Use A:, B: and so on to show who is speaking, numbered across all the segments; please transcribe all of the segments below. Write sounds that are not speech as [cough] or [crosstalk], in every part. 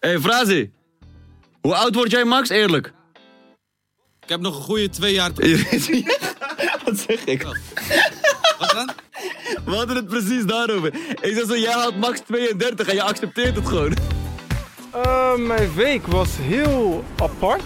A: Hé, hey, Frazi. Hoe oud word jij, Max? Eerlijk.
B: Ik heb nog een goede twee
A: [laughs]
B: jaar. te-
A: Wat zeg ik?
B: Wat dan?
A: We hadden het precies daarover. Ik zei zo, jij haalt Max 32 en je accepteert het gewoon.
C: Eh, mijn week was heel apart.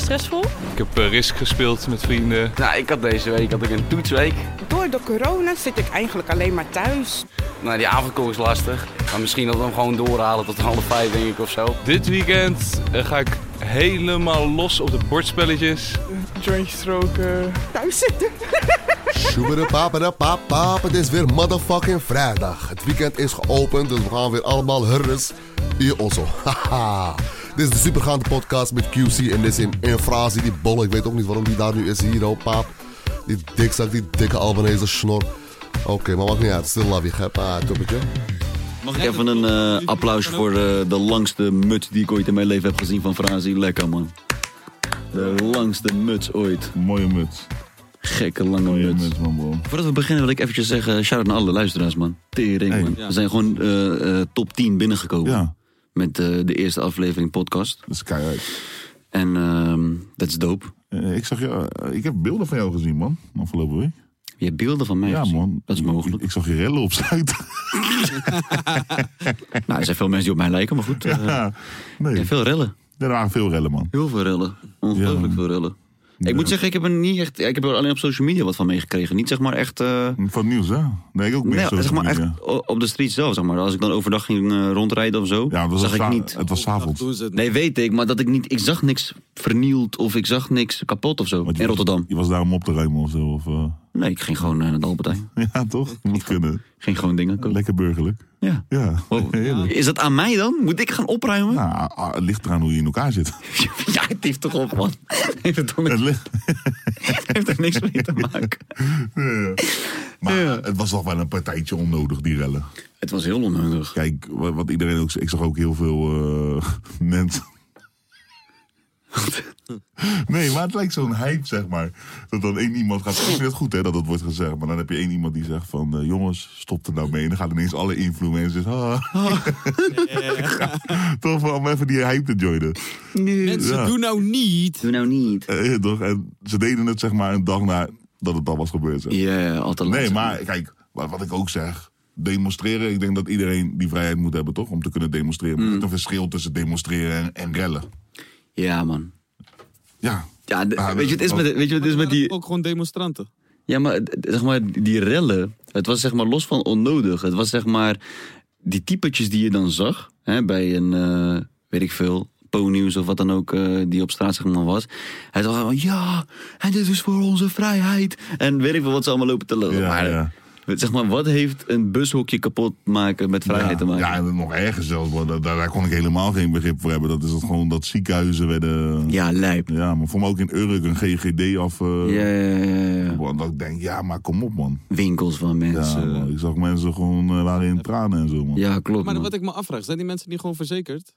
D: stressvol.
E: Ik heb eh, Risk gespeeld met vrienden.
F: Nou, ik had deze week had ik een toetsweek.
D: Door de corona zit ik eigenlijk alleen maar thuis.
F: Nou, die avondklok is lastig. Maar misschien dat we hem gewoon doorhalen tot half vijf, denk ik, of zo.
E: Dit weekend eh, ga ik helemaal los op de bordspelletjes.
C: Jointjes roken.
D: Thuis zitten.
G: Sjoemere papere pap, pap, het is weer motherfucking vrijdag. Het weekend is geopend, dus we gaan weer allemaal hurres. Hier also, [laughs] haha. Dit is de supergaande podcast met QC en Nissim en Frazi, die bolle. Ik weet ook niet waarom die daar nu is hier, oh pap. Die dikzak, die dikke Albanese snor. Oké, maar maakt niet uit. Still love you, gep. Ah, toppetje.
B: Mag
A: Ik even een eh, applaus voor eh, de langste muts die ik ooit in mijn leven heb gezien van Frazi. Lekker, man. De langste muts ooit.
H: Mooie muts.
A: Gekke lange
H: Mooie
A: muts.
H: muts, man, bro.
A: Voordat we beginnen wil ik eventjes zeggen, shout-out naar alle luisteraars, man. Tering,
H: Hey.
A: man.
B: Ja.
A: We zijn gewoon eh, eh, top 10 binnengekomen
H: Ja,
A: met eh, de eerste aflevering podcast.
H: dat is keihard.
A: En ehm, dat is dope.
H: Eh, ik zag je, eh, ik heb beelden van jou gezien, man. Afgelopen week.
A: Je hebt beelden van mij
H: ja,
A: gezien.
H: man.
A: Dat is mogelijk.
H: Ik, ik zag je rellen op Zuid.
A: [laughs] Nou, er zijn veel mensen die op mij lijken, maar goed. eh,
H: ja. Nee,
A: ja, veel rellen.
H: er waren veel rellen, man.
A: Heel veel rellen. Ongelooflijk
H: Ja.
A: veel rellen. Ik moet zeggen, ik heb er niet echt. Ik heb er alleen op social media wat van meegekregen. Niet zeg maar echt. eh,
H: Van het nieuws, hè? Nee, ik ook meer
A: nee,
H: social
A: zeg maar echt
H: media.
A: o- op de street zelf. Zeg maar. Als ik dan overdag ging eh, rondrijden of zo,
H: Ja, het was
A: zag ik
H: za-
A: niet.
H: Het was 's avonds.
B: Doen ze het.
A: Nee, weet ik, maar dat ik niet. Ik zag niks vernield of ik zag niks kapot of zo.
H: Want je
A: In
H: was-
A: Rotterdam.
H: Je was daar om op te ruimen of zo. Of, eh, [laughs]
A: Nee, ik ging gewoon eh, naar de Albertijn.
H: ja, toch? Je moet kunnen.
A: Ging gewoon dingen kopen.
H: Lekker burgerlijk.
A: Ja.
H: [laughs] Ja,
A: Wow.
H: heerlijk.
A: Is dat aan mij dan? Moet ik gaan opruimen?
H: Nou, ah, het ligt eraan hoe je in elkaar
A: [laughs]
H: zit.
A: ja, het heeft toch op, man. [laughs] heeft het toch
H: Het
A: niks-
H: ligt- [laughs]
A: heeft er niks mee te maken.
H: Ja. Maar het was toch wel een partijtje onnodig, die rellen.
A: Het was heel onhandig.
H: Kijk, wa- wat iedereen ook... Ik zag ook heel veel eh, [laughs] mensen... Nee, maar het lijkt zo'n hype, zeg maar. Dat dan één iemand gaat... Ik vind het goed, hè, dat dat wordt gezegd. Maar dan heb je één iemand die zegt van... eh, jongens, stop er nou mee. En dan gaan ineens alle influencers... [laughs] Ah. toch wel om even die hype te joinen.
B: Mensen,
H: Ja.
B: doe nou niet.
A: Doe nou niet.
H: Eh, toch? En ze deden het, zeg maar, een dag na dat het al was gebeurd. zeg.
A: Ja, altijd
H: Nee,
A: lastig.
H: maar kijk, wa- wat ik ook zeg. Demonstreren, ik denk dat iedereen die vrijheid moet hebben, toch? Om te kunnen demonstreren.
A: Mm.
H: Er is een verschil tussen demonstreren en, en rellen.
A: Ja, man.
H: Ja.
A: Ja, de-
H: Ah,
A: weet, je, het is met, weet je wat het is met
B: Waren
A: die...
B: Ook gewoon demonstranten.
A: Ja, maar d- zeg maar, die rellen... Het was zeg maar los van onnodig. Het was zeg maar... Die typetjes die je dan zag... Hè, bij een, eh, weet ik veel... Ponyus of wat dan ook eh, die op straat zeg maar was. Hij dacht van ja, en dit is voor onze vrijheid. En weet ik veel wat ze allemaal lopen te lopen.
H: Ja,
A: maar,
H: ja.
A: Zeg maar, wat heeft een bushokje kapot maken met vrijheid
H: ja,
A: te maken?
H: ja, en nog erger zelfs, maar daar, daar kon ik helemaal geen begrip voor hebben. Dat is dat gewoon dat ziekenhuizen werden.
A: Ja, lijp.
H: Ja, maar voor me ook in Urk een GGD af. eh,
A: Ja, ja, ja, eh, ja.
H: want Dat ik denk, ja, maar kom op, man.
A: Winkels van
H: Ja,
A: mensen. Ja,
H: man. Ik zag mensen gewoon eh, waren in tranen en zo, man.
A: klopt.
B: Maar
A: man.
B: wat ik me afvraag, zijn die mensen niet gewoon verzekerd?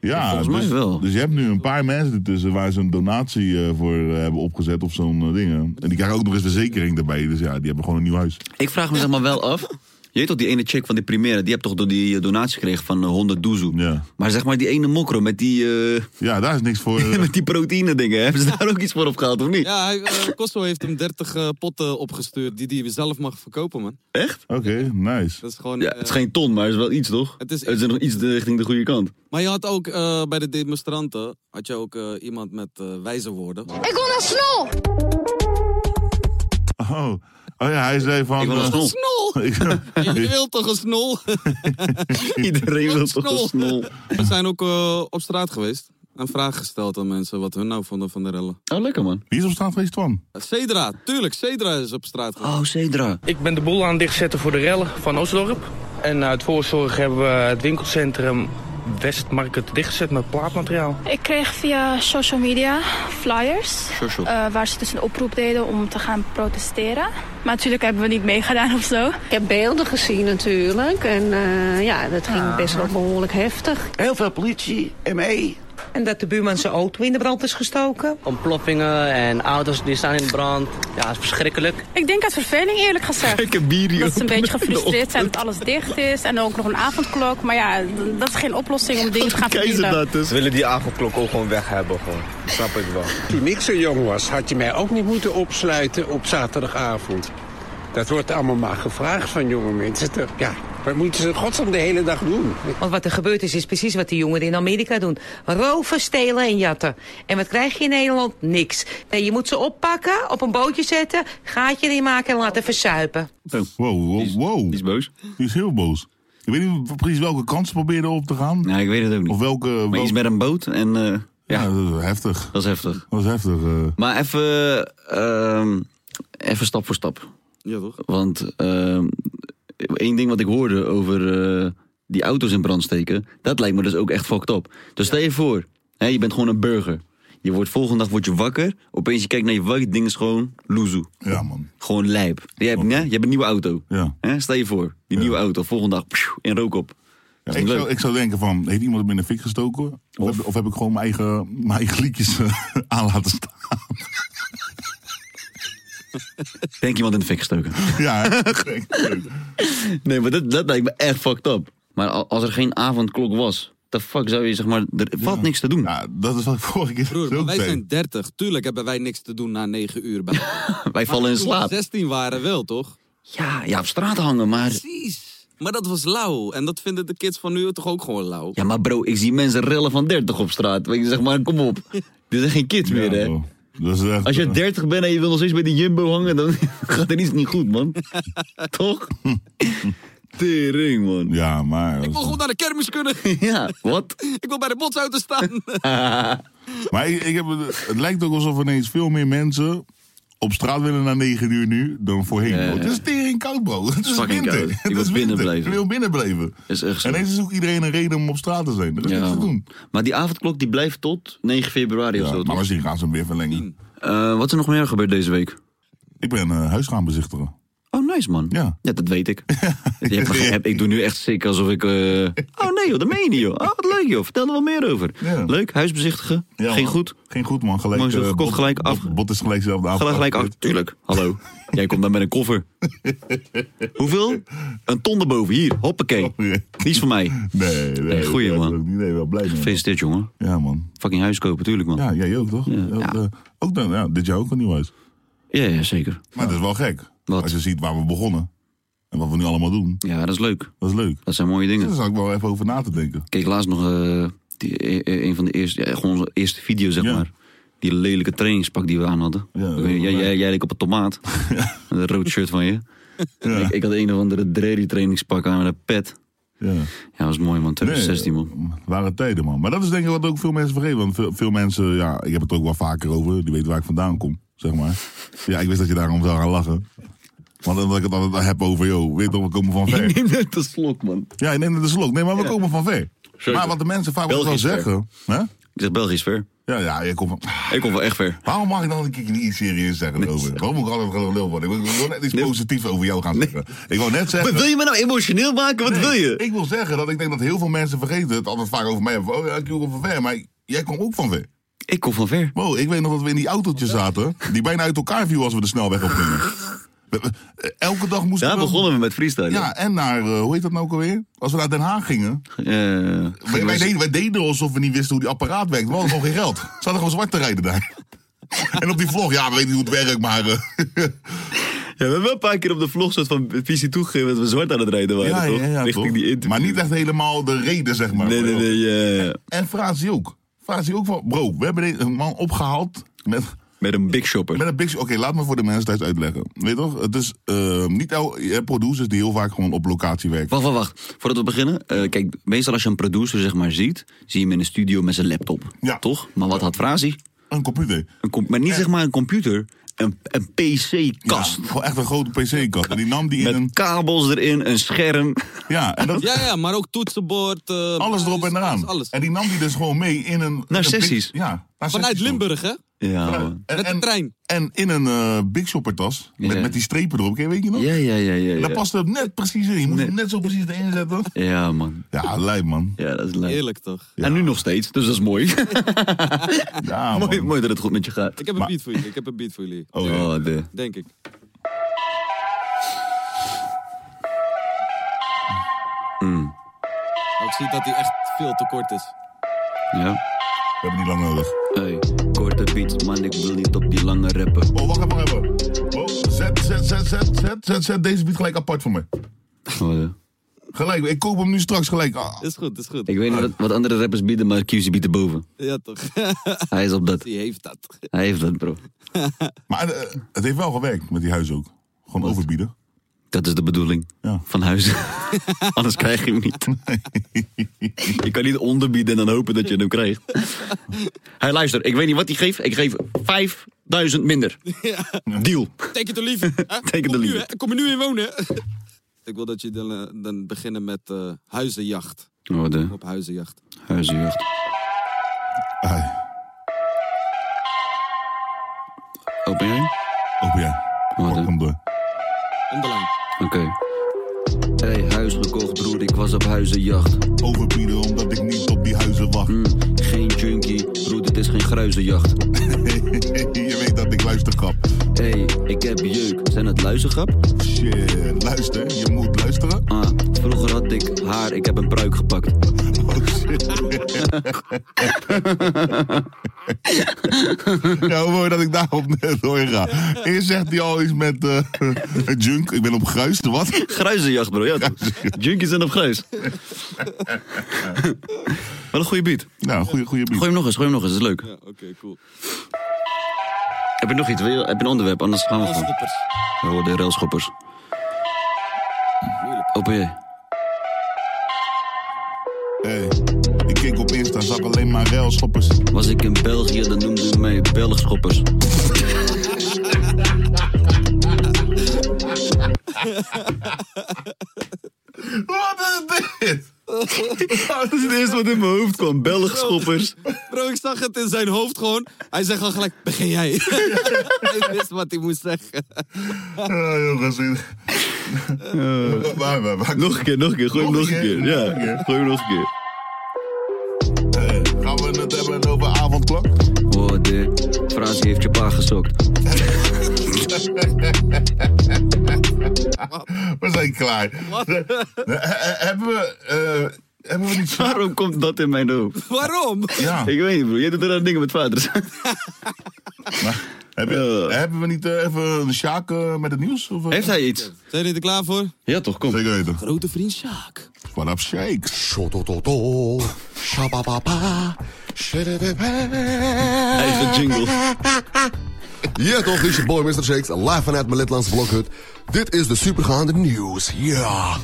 H: Ja,
A: Volgens mij
H: dus,
A: wel.
H: Dus je hebt nu een paar mensen ertussen waar ze een donatie eh, voor eh, hebben opgezet of zo'n eh, dingen. En die krijgen ook nog eens verzekering erbij. Dus ja, die hebben gewoon een nieuw huis.
A: Ik vraag me zeg maar wel af. Je weet toch, die ene chick van die Primera, die hebt toch door die eh, donatie gekregen van eh, 100 doezoe.
H: Ja.
A: Maar zeg maar die ene mokro met die, eh, [laughs]
H: ja, daar is niks voor. eh,
A: met die proteïne dingen, [laughs] hebben ze daar ook iets voor op gehad of niet?
B: [laughs] Ja, hij, eh, Costco heeft hem 30 eh, potten opgestuurd die hij zelf mag verkopen, man.
A: Echt?
H: Oké, nice.
B: Dat is gewoon...
A: Ja,
B: eh,
A: het is geen ton, maar het is wel iets toch?
B: het is-
A: Het is nog iets de- richting de goede kant.
B: Maar je had ook eh, bij de demonstranten had je ook eh, iemand met eh, wijze woorden.
I: Ik wil naar Snol!
H: Oh, oh ja, hij zei van...
A: Ik wil een
H: eh, [laughs]
A: snol.
B: Snol! Je [laughs] wilt toch een snol?
A: [laughs] Iedereen wil toch een
B: Snol.
A: snol.
B: We zijn ook eh, op straat geweest en vragen gesteld aan mensen wat hun nou vonden van de rellen.
A: Oh, lekker man.
H: Wie is op straat geweest, Twan?
B: Cedra, tuurlijk, Cedra is op straat geweest.
A: Oh, Cedra.
C: Ik ben de boel aan het dichtzetten voor de rellen van Oostdorp. En uit voorzorg hebben we het winkelcentrum Westmarket dichtgezet met plaatmateriaal.
I: Ik kreeg via social media flyers.
A: Social.
I: eh, waar ze dus een oproep deden om te gaan protesteren. Maar natuurlijk hebben we niet meegedaan of zo.
J: Ik heb beelden gezien natuurlijk. En eh, ja, dat ging
I: Ah.
J: best wel behoorlijk heftig.
K: Heel veel politie, ME.
L: En dat de buurman zijn auto in de brand is gestoken.
K: Ontploffingen en auto's die staan in brand. Ja, het is verschrikkelijk.
I: Ik denk uit verveling eerlijk gezegd.
A: Gekke bier hier [laughs]
I: Dat ze een
A: open
I: beetje
A: in de
I: gefrustreerd zijn
A: ochtend.
I: dat alles dicht is. En ook nog een avondklok. Maar ja, d- dat is geen oplossing om dingen te gaan
A: Keizer
I: verbieden.
A: dat dus.
M: Ze willen die avondklok ook gewoon weg hebben. Gewoon. Snap ik wel. Toen ik zo jong was, had je mij ook niet moeten opsluiten op zaterdagavond. Dat wordt allemaal maar gevraagd van jonge mensen. toch? Ja, wat moeten ze in godsnaam de hele dag doen?
L: Want wat er gebeurd is, is precies wat die jongeren in Amerika doen. Roven, stelen en jatten. En wat krijg je in Nederland? Niks. Nee, je moet ze oppakken, op een bootje zetten, gaatje erin maken en laten verzuipen.
H: Wow, wow, Oh, wow.
A: Die Oh. is boos.
H: Die is heel boos. Ik weet niet precies welke kant ze probeerden op te gaan.
A: Nee, ik weet het ook niet.
H: Of welke...
A: Maar
H: wel-
A: iets met een boot en eh,
H: ja,
A: ja,
H: dat is heftig.
A: dat is heftig.
H: Dat is heftig. eh.
A: Maar even, ehm, even stap voor stap.
B: Ja toch?
A: Want ehm, één ding wat ik hoorde over eh, die auto's in brand steken, dat lijkt me dus ook echt fucked up. Dus stel je voor, hè, je bent gewoon een burger. Je wordt volgende dag word je wakker, opeens je kijkt naar je wakker, ding is gewoon loezoe.
H: Ja, man.
A: Gewoon lijp. Je hebt, hè, je hebt een nieuwe auto.
H: Ja.
A: Hè, stel je voor, die nieuwe auto, volgende dag pssch, in rook op.
H: Ja,
A: Dat is
H: ik,
A: niet
H: zou,
A: leuk.
H: ik zou denken van, heeft iemand hem in de fik gestoken? Of, heb, of heb ik gewoon mijn eigen, mijn eigen liedjes eh, [laughs] aan laten staan?
A: Denk iemand in de fik gestoken.
H: ja, [laughs] hè? Ik denk, leuk.
A: Nee, maar dat, dat lijkt me echt fucked up. Maar al- als er geen avondklok was, de fuck zou je zeg maar, er valt niks te doen.
H: ja, dat is wat ik vorige keer
B: Broer,
H: ook
B: maar wij
H: zei.
B: zijn 30. Tuurlijk hebben wij niks te doen na 9
A: [laughs]
B: uur bij.
A: [laughs] Wij vallen in
B: Toen we
A: slaap.
B: 16 waren wel, toch?
A: Ja, ja, op straat hangen, maar...
B: Precies. Maar dat was lauw. En dat vinden de kids van nu toch ook gewoon lauw?
A: Ja, maar bro, ik zie mensen rellen van 30 op straat. Weet je, zeg maar, kom op. [laughs] Dit zijn geen kids meer,
H: Ja,
A: hè.
H: bro. dat is echt,
A: Als je
H: eh,
A: 30 bent en je wil nog steeds bij die Jumbo hangen, dan [laughs] gaat er iets niet goed, [laughs] man. Toch? [laughs] Tering, man.
H: Ja, maar...
B: Ik wil gewoon naar de kermis
A: [laughs]
B: kunnen.
A: Ja, wat?
B: Ik wil bij de botsauto staan.
H: Maar ik, ik heb, het- het lijkt ook alsof ineens veel meer mensen op straat willen na 9 uur nu dan voorheen.
A: Ja.
H: bro. Het is tering koud, bro. Het is
A: fucking
H: winter.
A: koud. Je
H: Het
A: wilt
H: is
A: binnen
H: winter.
A: blijven.
H: Je wil binnen blijven.
A: Is echt zo.
H: En ineens is ook iedereen een reden om op straat te zijn. Er is
A: Ja,
H: niks te
A: man.
H: doen.
A: Maar die avondklok die blijft tot 9 februari of
H: Ja,
A: zo.
H: maar
A: toch?
H: misschien gaan ze hem weer verlengen.
A: Eh, wat is er nog meer gebeurd deze week?
H: Ik ben eh huis gaan bezichtigen.
A: Oh, nice, man.
H: Ja.
A: dat weet ik. Je
H: [laughs]
A: hebt me ge- ik doe nu echt sick alsof ik... eh, Oh nee, joh, dat meen je niet, joh. Oh, wat leuk, joh. Vertel er wat meer over.
H: Ja.
A: Leuk, huis bezichtigen.
H: Ja,
A: Ging
H: man.
A: goed.
H: Geen goed, man. Gelijk,
A: Mooi zo
H: eh,
A: gekocht,
H: bot-
A: gelijk af.
H: Bot, bot is gelijk zelf de af.
A: Gelijk, gelijk. achter. tuurlijk. Hallo. Jij komt dan met een koffer. Hoeveel? Een ton erboven. Hier, hoppakee.
H: [laughs] Nee,
A: Die is van mij.
H: nee. nee
A: goeie,
H: dat
A: man.
H: wil ik niet. Nee, wel blij mee.
A: Gefeliciteerd, jongen.
H: Ja, man.
A: Fucking huis kopen, tuurlijk, man.
H: Ja, jij ook, toch? Ja,
A: Ja.
H: eh, ook dan, ja, dit jaar ook een nieuw huis.
A: Ja, ja, zeker.
H: Maar dat is wel gek.
A: Wat?
H: Als je ziet waar we begonnen en wat we nu allemaal doen,
A: Ja, dat is leuk.
H: dat is leuk. Dus
A: Dat zijn mooie dingen.
H: Daar zou ik wel even over na te denken.
A: keek laatst nog eh, die, eh, eh, een van de eerste, ja, gewoon onze eerste video, zeg
H: Ja.
A: maar. Die lelijke trainingspak die we aan hadden.
H: Ja,
A: Ik weet- jij,
H: ja.
A: jij, jij leek op een
H: [laughs]
A: tomaat. Met een rood shirt van je. Ik, ik had een of andere dreary trainingspak aan met een pet.
H: Ja.
A: Ja, was mooi man. 2016 man.
H: Waren tijden, man. Maar dat is denk ik wat ook veel mensen vergeten. Want veel, veel mensen, ja, ik heb het ook wel vaker over. Die weten waar ik vandaan kom, zeg maar. Ja, ik wist dat je daarom zou gaan lachen. Want omdat ik het altijd heb over, joh, weet toch, we komen van ver.
A: [laughs] neem net een slok man.
H: Ja, neem het de slok. Nee, maar we komen van ver.
A: Zeker.
H: Maar wat de mensen vaak wel
A: Belgisch ver.
H: zeggen. Hè?
A: Ik zeg Belgisch ver.
H: Ja, ja, je komt van...
A: Ik kom wel echt ver.
H: Waarom mag ik dan een keer niet iets serieus zeggen over? Waarom moet ik altijd gelul worden? Ik wil- ik wil net iets positiefs over jou gaan zeggen.
A: [laughs]
H: Ik wil net zeggen...
A: wil je me nou emotioneel maken? Wat wil je?
H: Ik wil zeggen dat ik denk dat heel veel mensen vergeten het altijd vaak over mij. hebben. Van, oh ja, ik kom van ver, maar jij komt ook van ver.
A: Ik kom van ver.
H: Wow, ik weet nog dat we in die autootjes zaten, die bijna uit elkaar viel als we de snelweg op gingen. Elke dag moesten
A: Daar
H: we...
A: begonnen we met freestyle.
H: Ja, en naar, eh, hoe heet dat nou ook alweer? Als we naar Den Haag gingen. Wij, wij, deden, wij deden alsof we niet wisten hoe die apparaat werkt. We hadden gewoon geen geld. Ze hadden gewoon zwart te rijden daar. [laughs] En op die vlog, ja, we weten niet hoe het werkt, maar... eh,
A: Ja, we hebben wel een paar keer op de vlog soort van visie toegegeven dat we zwart aan het rijden waren,
H: ja,
A: toch?
H: ja, ja,
A: Richting
H: toch?
A: die interview.
H: Maar niet echt helemaal de reden, zeg maar.
A: Nee, nee, nee, eh, ja, ja.
H: En Frazi ook. Frazi ook van, bro, we hebben deze man opgehaald met...
A: Met een big shopper.
H: Met een big shopper. Oké, laat me voor de mensen thuis uitleggen. Weet je toch? Het is eh, niet al, je hebt producers die heel vaak gewoon op locatie werken.
A: Wacht, wacht, wacht. Voordat we beginnen. eh, kijk, meestal als je een producer zeg maar ziet, zie je hem in een studio met zijn laptop. Ja. Toch? Maar wat had Frazi?
H: Een computer.
A: Een com- maar niet zeg maar een computer. Een, een PC-kast.
H: gewoon echt een grote PC-kast. En die nam die
A: met kabels erin, een scherm.
H: Ja, en dat...
B: ja, ja, maar ook toetsenbord. eh,
H: alles erop en eraan. En die nam die dus gewoon mee in een... in een
B: sessies.
H: big- ja, naar
B: Vanuit
H: sessies toe.
B: Limburg, hè?
A: Ja.
H: En, met de trein. En in een eh, Big Shopper tas. Met, met die strepen erop. Ken je- Weet je nog?
A: Ja, ja, ja. ja,
H: En
A: ja.
H: Daar paste het net precies in. Je moest het net zo precies erin zetten.
A: Ja, man.
H: Ja, lijp, man.
A: Ja, dat is lijp.
B: Heerlijk, toch?
A: En nu nog steeds, dus dat is mooi. [laughs]
H: ja,
A: mooi, mooi dat het goed met je gaat.
B: Ik heb een beat voor jullie. Ik heb een beat voor jullie.
A: Oh, de.
B: Denk ik.
A: Mm.
B: Ik zie dat hij echt veel te kort is.
A: Ja.
H: We hebben niet lang nodig.
A: Hey, korte beats, man, ik wil niet op die lange rappen.
H: Oh, wacht even, wacht even. Oh, zet, zet, zet, zet, zet, zet, zet deze beat gelijk apart voor me.
A: Oh,
H: Gelijk, ik koop hem nu straks gelijk. Ah,
B: Is goed, is goed.
A: Ik weet niet wat, wat andere rappers bieden, maar QC biedt erboven.
B: Ja, toch? [laughs]
A: Hij is op dat.
B: Die heeft dat.
A: Hij heeft dat, bro.
H: Maar eh, het heeft wel gewerkt met die huis ook. Gewoon overbieden.
A: Dat is de bedoeling van huizen. [laughs] Anders krijg je hem niet. je kan niet onderbieden en dan hopen dat je hem krijgt. Hij luister, ik weet niet wat hij geeft. Ik geef 5000 minder. Deal.
B: [laughs] Take it or leave it. hè?
A: Take it or
B: Kom
A: leave
B: nu, hè?
A: it.
B: Ik kom er nu in wonen. hè? [laughs] ik wil dat je dan, eh, dan beginnen met eh, huizenjacht.
A: Oh, de
B: Op huizenjacht.
A: huizenjacht.
H: Ah,
A: Open jij?
H: Open jij.
A: Wat
H: oh hem door.
B: Om de lijn.
A: Oké. Hey, huis gekocht, broer, ik was op huizenjacht.
H: Overbieden omdat ik niet op die huizen wacht.
A: Hmm. geen junkie, broer, dit is geen gruizenjacht.
H: [laughs] je weet dat ik luister, grap.
A: Hey, ik heb jeuk. Zijn het luizengrap?
H: Shit, luister, je moet luisteren. [laughs]
A: Ah, vroeger had ik haar, ik heb een pruik gepakt.
H: Oh
A: [laughs]
H: shit. ja, hoe mooi dat ik daarop net doorga. Eerst zegt hij al iets met eh, [laughs] junk. Ik ben op gruis, de wat? [laughs]
A: Gruizenjacht, bro. Ja, Junkies zijn op gruis. Wel een goede beat.
H: Nou, goede goede beat.
A: Gooi hem nog eens, gooi hem nog eens. Dat is leuk.
B: Ja, oké, cool.
A: Heb je nog iets? Wil je- Heb je een onderwerp? Anders gaan we gewoon.
B: Railschoppers.
A: We worden railschoppers. Oh, Open jij.
H: Hey, ik keek op Insta, zag alleen maar railschoppers.
A: Was ik in België, dan noemden ze mij Belgschoppers.
H: Wat is [laughs] dit?
A: Dat is het eerste wat in mijn hoofd kwam. Belgschoppers.
B: Bro, ik zag het in zijn hoofd gewoon. Hij zegt al gelijk, begin jij. [laughs] ik wist wat hij moest zeggen.
H: Ah, jongens. dit-
A: Eh.
H: Waar, waar, waar, waar-
A: Nog een keer, nog een keer. Gooi hem nog een keer. Ja, gooi hem nog een keer.
H: Hey, gaan we het hebben over avondklok?
A: Oh, de Frans heeft je pa gestokt.
H: We zijn klaar. Eh, eh, Hebben we... eh, hebben we
A: [laughs]
H: niet...
A: Waarom komt dat in mijn hoofd?
B: Waarom?
H: Ja.
A: Ik weet niet, bro. Jij doet er aan dingen met vaders.
H: Hebben, hebben we niet eh, even een Sjaak eh, met het nieuws? Of,
A: Heeft hij iets? Zijn
B: jullie er klaar voor?
A: Ja, toch? Kom.
H: Zeker weten.
B: Grote vriend Sjaak.
H: What up, Shake?
G: Shotototo, shabababa, shedebebe.
A: Eigen jingle.
G: Ja toch, dit is je boy Mr. Shakes, live vanuit mijn Letlands Vloghut. Dit is de supergaande nieuws, ja.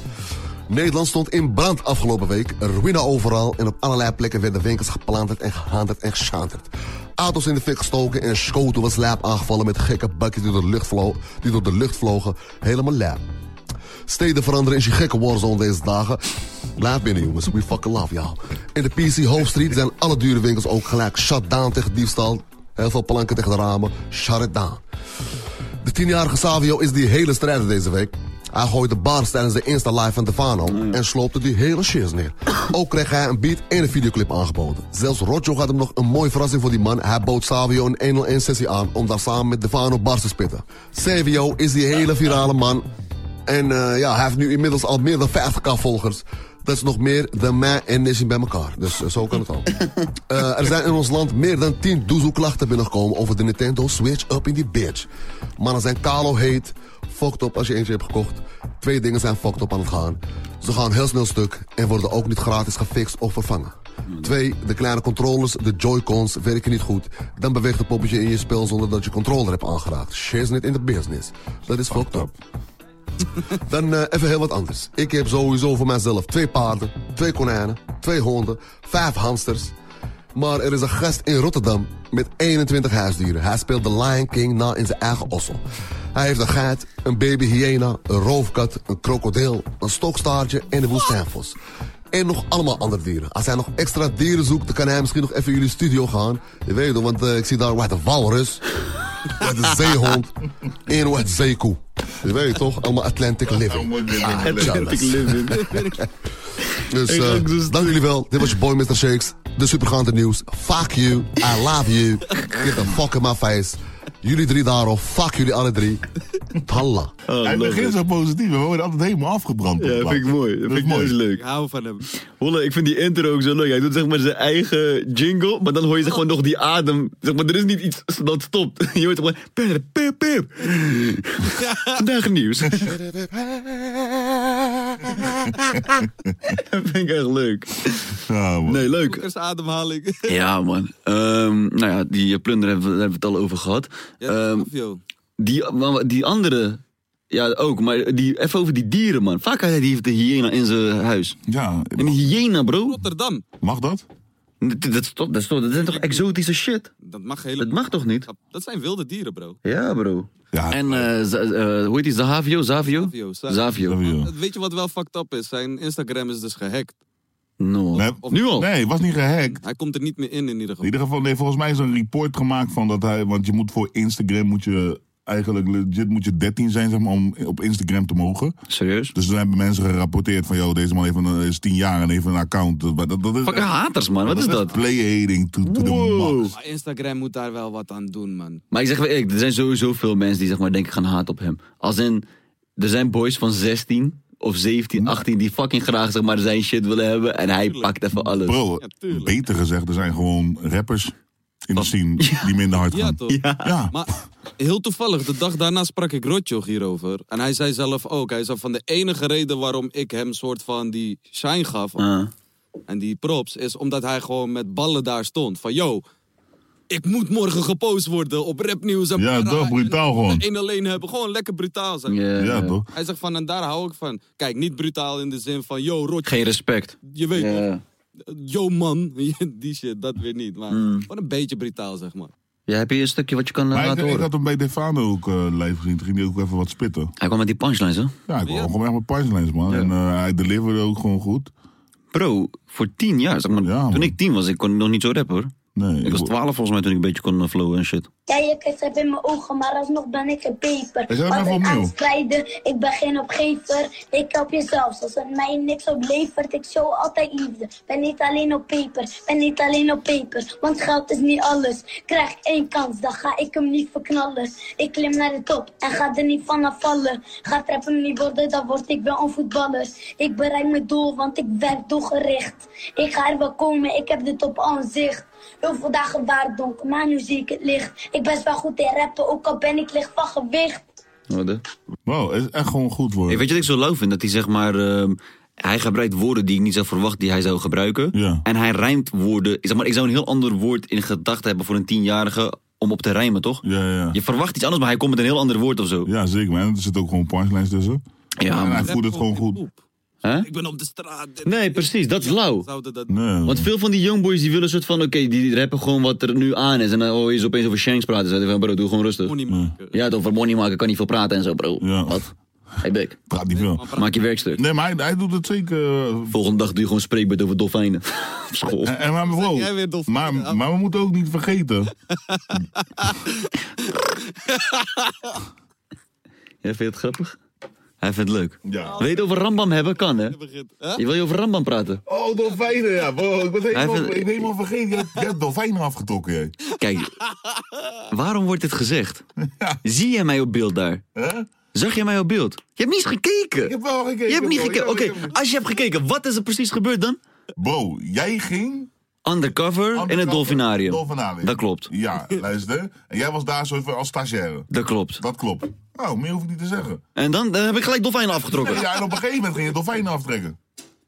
G: Nederland stond in brand afgelopen week. Ruïne overal en op allerlei plekken werden winkels geplanterd en gehandeld en geschanderd. Auto's in de fik gestoken en schoten was lijp aangevallen met gekke bakjes die door de lucht, vlo- die door de lucht vlogen. Helemaal lijp. Steden veranderen is je gekke warzone deze dagen. Blijf binnen jongens, we fucking love y'all. In de PC Hoofdstreet zijn alle dure winkels ook gelijk shut down tegen diefstal. Heel veel planken tegen de ramen, shut it down. De tienjarige Savio is die hele strijder deze week. Hij gooide bars tijdens de Insta-live van Stefano en sloopte die hele shit neer. Ook kreeg hij een beat en een videoclip aangeboden. Zelfs Rojo had hem nog een mooie verrassing voor die man. Hij bood Savio een 101 sessie aan om daar samen met Stefano bars te spitten. Savio is die hele virale man. En eh, ja, hij heeft nu inmiddels al meer dan 50k volgers. Dat is nog meer dan mij en Nishin bij elkaar. Dus eh, zo kan het al. Eh, er zijn in ons land meer dan 10 doezoe klachten binnengekomen over de Nintendo Switch up in die bitch. Mannen zijn kalo heet, fucked up als je eentje hebt gekocht. Twee dingen zijn fucked up aan het gaan. Ze gaan heel snel stuk en worden ook niet gratis gefixt of vervangen. Twee, de kleine controllers, de Joy-Cons, werken niet goed. Dan beweegt het poppetje in je spel zonder dat je controller hebt aangeraakt. Shit's net in de business. Dat is fucked up. Dan eh, even heel wat anders. Ik heb sowieso voor mezelf twee paarden, twee konijnen, twee honden, vijf hamsters. Maar er is een gast in Rotterdam met 21 huisdieren. Hij speelt The Lion King na in zijn eigen ossel. Hij heeft een geit, een baby hyena, een roofkat, een krokodil, een stokstaartje en een woestijnvos. En nog allemaal andere dieren. Als hij nog extra dieren zoekt, dan kan hij misschien nog even in jullie studio gaan. Je weet toch, want eh, ik zie daar wat een
A: [laughs]
G: walrus, wat een zeehond en wat een zeekoe. Je weet toch, allemaal Atlantic living. Ah, jealous.
A: Atlantic living.
G: Dus eh, dank jullie wel. Dit was je boy Mr. Shakes. De supergaande nieuws. Fuck you. I love you. Get the fuck in my face. Jullie drie daarop. Fuck jullie alle drie. Talla.
A: Oh.
H: Hij begint zo positief. We worden altijd helemaal afgebrand.
A: Ja, vind ik
H: [laughs]
A: mooi. Dat, vind ik mooi. leuk. Ik
B: hou van [laughs] hem.
A: Holle, ik vind die intro ook zo leuk. Hij doet zeg maar zijn eigen jingle, maar dan hoor je zeg maar nog die adem. Zeg maar, er is niet iets dat stopt. [laughs] Je hoort zeg maar... Pip, pip, pip. Vandaag nieuws. dat vind ik echt leuk. Nee, leuk.
B: Eerst ademhaling. [laughs]
A: Ja, man. Ehm, nou ja, die plunder hebben we, daar hebben we het al over gehad. Ehm, die, maar die andere, ja ook, maar die, even over die dieren, man. Vaak had hij- die heeft de hyena in zijn huis.
H: Ja.
A: Een hyena, bro.
B: Rotterdam.
H: Mag dat?
A: Dat, dat, is toch- dat, is toch- dat zijn toch exotische shit?
B: Dat mag helemaal
A: Dat mag toch niet?
B: Dat zijn wilde dieren, bro.
A: Ja, bro. En eh, za- eh, hoe heet die? Zahavio? Zavio?
B: Savio, Savio.
A: Zavio.
B: Weet je wat wel fucked up is? Zijn Instagram is dus gehackt.
A: No.
H: nu al? Nee, was niet gehackt.
B: Hij komt er niet meer in, in ieder
H: In
B: geval.
H: ieder geval, nee, volgens mij is er een report gemaakt van dat hij. Want je moet voor Instagram moet je eigenlijk legit moet je 13 zijn, zeg maar, om op Instagram te mogen.
A: Serieus?
H: Dus toen hebben mensen gerapporteerd van joh, deze man heeft een, is 10 jaar en heeft een account. Dat, dat, dat is,
A: Fucking haters, man. Wat is dat?
H: Playhating to, to the max.
B: Maar Instagram moet daar wel wat aan doen, man.
A: Maar ik zeg wel eerlijk, er zijn sowieso veel mensen die zeg maar denken gaan haat op hem. Als in, er zijn boys van 16 of 17, 18 die fucking graag zeg maar zijn shit willen hebben. En hij pakt even alles.
H: Bro, beter gezegd, er zijn gewoon rappers in de scene die minder hard gaan.
B: Ja, toch? Maar heel toevallig, de dag daarna sprak ik Rotjoch hierover. En hij zei zelf ook, hij zei van de enige reden waarom ik hem soort van die shine gaf...
A: Ah.
B: en die props, is omdat hij gewoon met ballen daar stond. Van, yo, ik moet morgen gepost worden op rapnieuws en
H: Ja,
B: para-
H: toch? Brutaal gewoon.
B: Eén alleen hebben. Gewoon lekker brutaal zijn.
H: Ja. Ja, toch?
B: Hij zegt van, en daar hou ik van. Kijk, niet brutaal in de zin van, yo, rot.
A: Geen respect.
B: Je weet
A: Ja.
B: toch? Yo, man. [laughs] Die shit, dat weer niet. Maar
H: Mm.
B: gewoon een beetje brutaal, zeg maar.
A: Ja, heb je een stukje wat je kan eh,
H: Maar ik,
A: laten
H: ik
A: horen?
H: had hem bij Defano ook eh, live gezien. Toen ging hij ook even wat spitten.
A: Hij kwam met die punchlines, hè?
H: Ja, ik kwam gewoon echt met punchlines, man. En eh, hij deliverde ook gewoon goed.
A: Bro, voor tien jaar. Zeg maar, toen ik tien was, ik kon nog niet zo rappen, hoor.
H: Nee,
A: ik was twaalf volgens mij toen ik een beetje kon eh, flowen en shit.
N: Jij kijkt heb in mijn ogen, maar alsnog ben ik een beper.
A: Is dat nou
N: Altijd
A: voor opnieuw?
N: aan het strijden, ik ben geen opgever. Ik help jezelf, als het mij niks oplevert. Ik show altijd liefde. Ben niet alleen op paper, ben niet alleen op paper. Want geld is niet alles. Krijg één kans, dan ga ik hem niet verknallen. Ik klim naar de top en ga er niet van afvallen. Gaat rap hem niet worden, dan word ik wel een voetballer. Ik bereik mijn doel, want ik werk doelgericht. Ik ga er wel komen, ik heb de top aan zicht. Heel veel dagen waren het donker, maar nu zie ik het licht. Ik best wel goed in rappen, ook al ben ik licht van gewicht.
A: Wat, hè?
H: Wow, het is echt gewoon goed, hoor.
A: weet je wat ik zo lauw vind? Dat hij zeg maar... ehm, hij gebruikt woorden die ik niet zou verwachten die hij zou gebruiken. En hij rijmt woorden. Zeg maar, ik zou een heel ander woord in gedachten hebben voor een tienjarige om op te rijmen, toch?
H: Ja, ja.
A: Je verwacht iets anders, maar hij komt met een heel ander woord of zo.
H: Ja, zeker, man. Er zitten ook gewoon punchlines tussen.
A: Ja,
H: en hij
A: Ah, man.
H: voert het gewoon goed. Nou.
A: Hè?
B: Ik ben op de straat.
A: Nee, precies. Dat is lauw.
B: Zouden dat...
A: Want veel van die youngboys die willen een soort van... Oké, die rappen gewoon wat er nu aan is. En dan hoor je ze opeens over shanks praten. Zeiden van, bro, doe gewoon rustig. Ja, toch, voor money maken kan niet veel praten en zo, bro. Wat? Hey, Beck.
H: Praat niet veel.
A: Maak je werkstuk.
H: Nee, maar hij, hij doet het zeker. eh,
A: Volgende dag doe je gewoon spreekbeurt over dolfijnen. [laughs] Op school.
H: En, en maar, bro, maar, maar we moeten ook niet vergeten.
A: Jij vindt het grappig? Hij vindt het leuk.
H: Ja.
A: Wil je het over Rambam hebben? Kan, hè? Je wil je over Rambam praten?
H: Oh, dolfijnen, ja. Wow, ik ben
A: Hij
H: helemaal,
A: vindt-
H: ik ben helemaal vergeten. Je hebt, je hebt dolfijnen afgetrokken, jij.
A: Kijk, waarom wordt dit gezegd? Zie jij mij op beeld daar? Zag jij mij op beeld? Je hebt niet eens gekeken.
H: Ik heb wel gekeken.
A: Je hebt niet
H: bro.
A: gekeken. Oké,
H: Ja, ik heb-
A: als je hebt gekeken, wat is er precies gebeurd dan?
H: Bo, jij ging...
A: Undercover, in het dolfinarium.
H: Dolfinarium.
A: Dat klopt.
H: Ja, luister. En jij was daar zo even als stagiaire.
A: Dat klopt.
H: Dat klopt. Nou, meer hoef ik niet te zeggen.
A: En dan, dan heb ik gelijk dolfijnen afgetrokken.
H: Ja, Dus en op een gegeven moment ging je dolfijnen aftrekken.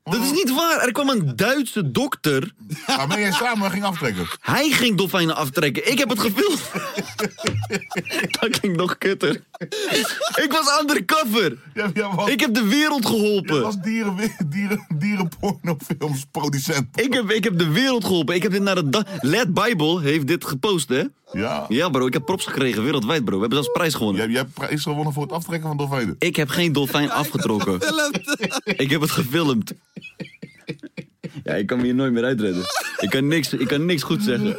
A: Dat is niet waar. Er kwam een Duitse dokter.
H: Waarmee jij samen ging aftrekken.
A: Hij ging dolfijnen aftrekken. Ik heb het gefilmd. [laughs] Dat ging nog kutter. Ik was undercover.
H: Ja, ja, want-
A: Ik heb de wereld
H: Je
A: geholpen.
H: was dieren, dieren, dierenpornofilms producent.
A: Ik heb, ik heb de wereld geholpen. Ik heb dit naar de dag. Led Bible heeft dit gepost, hè?
H: Ja.
A: Ja, bro. Ik heb props gekregen wereldwijd, bro. We hebben zelfs prijs gewonnen.
H: Jij hebt prijs gewonnen voor het aftrekken van dolfijnen.
A: Ik heb geen dolfijn afgetrokken. Ik heb het gefilmd. Ja, ik kan me hier nooit meer uitredden. Ik kan niks, ik kan niks goed zeggen.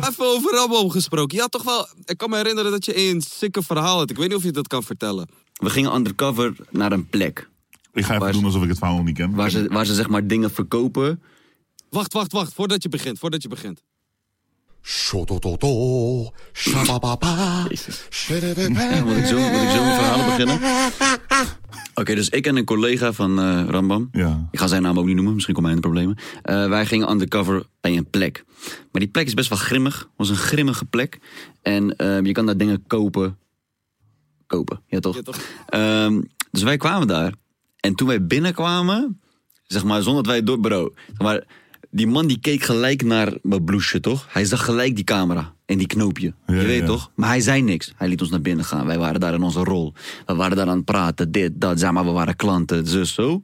B: Even over Rambam gesproken. Je had toch wel... Ik kan me herinneren dat je een sikke verhaal had. Ik weet niet of je dat kan vertellen.
A: We gingen undercover naar een plek.
H: Ik ga even doen alsof ik het verhaal niet ken.
A: Waar ze, waar ze zeg maar dingen verkopen.
B: Wacht, wacht, wacht. Voordat je begint. Voordat je begint.
G: Shotototo, shabababa.
A: Ja, Moet ik zo, moet ik zo mijn verhalen beginnen? Oké, dus ik en een collega van eh, Rambam. Ik ga zijn naam ook niet noemen, misschien komt hij in de problemen. Eh, wij gingen undercover bij een plek. Maar die plek is best wel grimmig. was een grimmige plek. En eh, je kan daar dingen kopen. Kopen, ja toch? Ehm, dus wij kwamen daar. En toen wij binnenkwamen, zeg maar, zonder dat wij door... Bro, zeg maar, die man die keek gelijk naar mijn blouseje, toch? Hij zag gelijk die camera en die knoopje. je weet toch? Maar hij zei niks. Hij liet ons naar binnen gaan. Wij waren daar in onze rol. We waren daar aan het praten, dit, dat. Zeg maar, we waren klanten, zus, zo.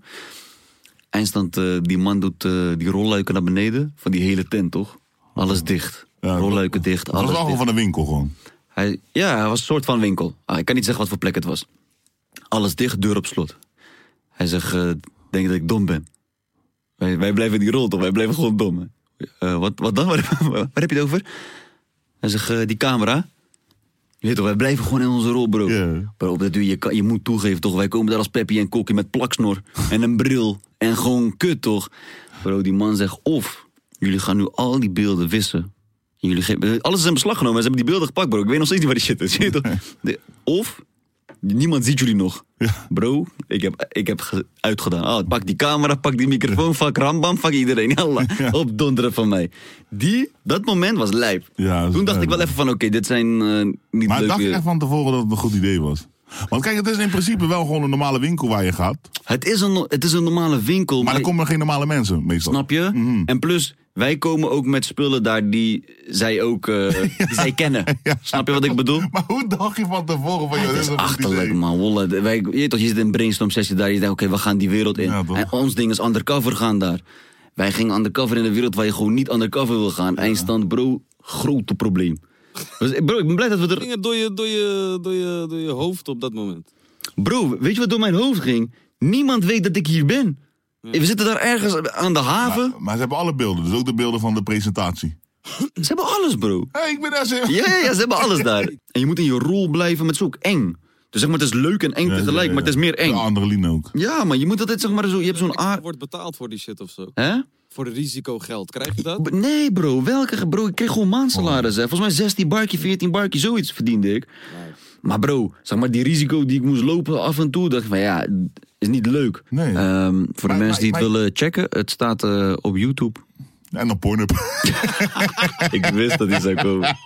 A: Eindstand, eh, die man doet eh, die rolluiken naar beneden van die hele tent, toch? Alles dicht. rolluiken dicht,
H: Dat
A: alles
H: was allemaal
A: dicht.
H: van de winkel gewoon.
A: Hij, ja, hij was een soort van winkel. Ah, ik kan niet zeggen wat voor plek het was. Alles dicht, deur op slot. Hij zegt, eh, denk je dat ik dom ben? Wij, wij blijven in die rol toch? Wij blijven gewoon dom. hè? Eh, wat, wat dan? [laughs] Waar, waar heb je het over? Hij zegt, eh, die camera. Je weet toch, wij blijven gewoon in onze rol, bro. Bro, op dat duur, je, kan, je moet toegeven, toch? Wij komen daar als Peppy en Kokkie met plaksnor en een bril. En gewoon kut, toch? Bro, die man zegt, of jullie gaan nu al die beelden wissen. Jullie geven- alles is in beslag genomen. Ze hebben die beelden gepakt, bro. Ik weet nog steeds niet waar die shit is. [laughs] Je weet toch? De- Of, niemand ziet jullie nog. Bro, ik heb, ik heb ge- uitgedaan. Ah, pak die camera, pak die microfoon, fuck Rambam, fuck iedereen. [laughs] Allah, opdonderen van mij. Die, dat moment was lijp. Toen dacht ik wel even van, oké, dit zijn eh, niet
H: Maar dacht
A: leuke...
H: ik echt van tevoren dat het een goed idee was. Want kijk, het is in principe wel gewoon een normale winkel waar je gaat.
A: Het is een, het is een normale winkel. Maar,
H: er komen geen normale mensen meestal.
A: Snap je?
H: Mhm.
A: En plus, wij komen ook met spullen daar die zij ook eh,
H: [laughs]
A: die zij kennen. Snap je wat ik bedoel?
H: Maar hoe dacht je van tevoren van... joh, dit is een goed idee?
A: Achterlijk, man. Wolle, De- wij, je, weet toch, je zit in een brainstorm sessie daar. Je denkt, oké, we gaan die wereld in. en ons ding is undercover gaan daar. Wij gingen undercover in een wereld waar je gewoon niet undercover wil gaan. Eindstand, bro, grote probleem. Dus, bro, ik ben blij dat we er...
B: Dingen door je, door, je, door, je, door je hoofd op dat moment.
A: Bro, weet je wat door mijn hoofd ging? Niemand weet dat ik hier ben. We zitten daar ergens aan de haven.
H: Maar, maar ze hebben alle beelden, dus ook de beelden van de presentatie.
A: Ze hebben alles, bro.
H: Hé, ik ben daar ze.
A: Ja, ja, ja, ze hebben alles [laughs] daar. En je moet in je rol blijven, maar het is ook eng. Dus zeg maar, het is leuk en eng tegelijk, maar het is meer eng. De
H: adrenaline ook.
A: Ja, maar je moet altijd zeg maar zo, je hebt zo'n aard...
B: Wordt betaald voor die shit of zo.
A: Hè?
B: Voor risicogeld. Krijg je dat?
A: B- Nee bro, welke bro, ik kreeg gewoon maandsalaris. Hè. Volgens mij 16 barkje, 14 barkje, zoiets verdiende ik. Maar bro, zeg maar, die risico die ik moest lopen af en toe, dacht ik van ja, is niet leuk. Ehm, voor de mensen die het willen checken, het staat eh, op YouTube.
H: En
A: [laughs]
H: op Pornhub.
A: ik wist dat hij zou
H: [laughs]
A: komen.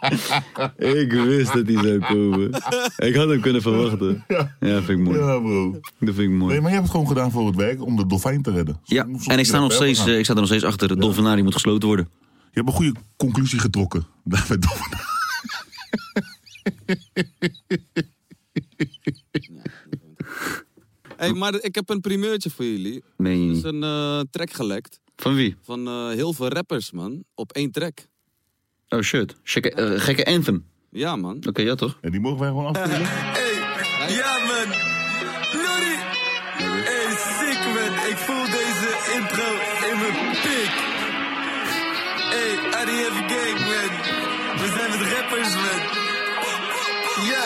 A: Ik wist dat hij zou komen. Ik had hem kunnen verwachten. Ja, vind ik mooi.
H: Ja, bro.
A: Dat vind ik mooi.
H: Nee, maar je hebt het gewoon gedaan voor het werk om de dolfijn te redden.
A: Ja, en ik sta, nog steeds, eh, ik sta er nog steeds achter. Het dolfinarium moet gesloten worden.
H: Je hebt een goede conclusie getrokken. [laughs] Daarbij dolfijn.
B: Hey, maar ik heb een primeurtje voor jullie.
A: Meen je
B: Er is
A: niet?
B: een eh, track gelekt.
A: Van wie?
B: Van eh, heel veel rappers, man. Op één track.
A: Oh shit. Gekke, eh, gekke anthem.
B: Ja, man. Oké,
A: ja toch?
H: En die mogen wij gewoon afspelen.
O: Ja, man. Lorry. Hey, sick, man. Ik voel deze intro in mijn pik. Hey, ADF Gang, man. We zijn met rappers, man. Ja.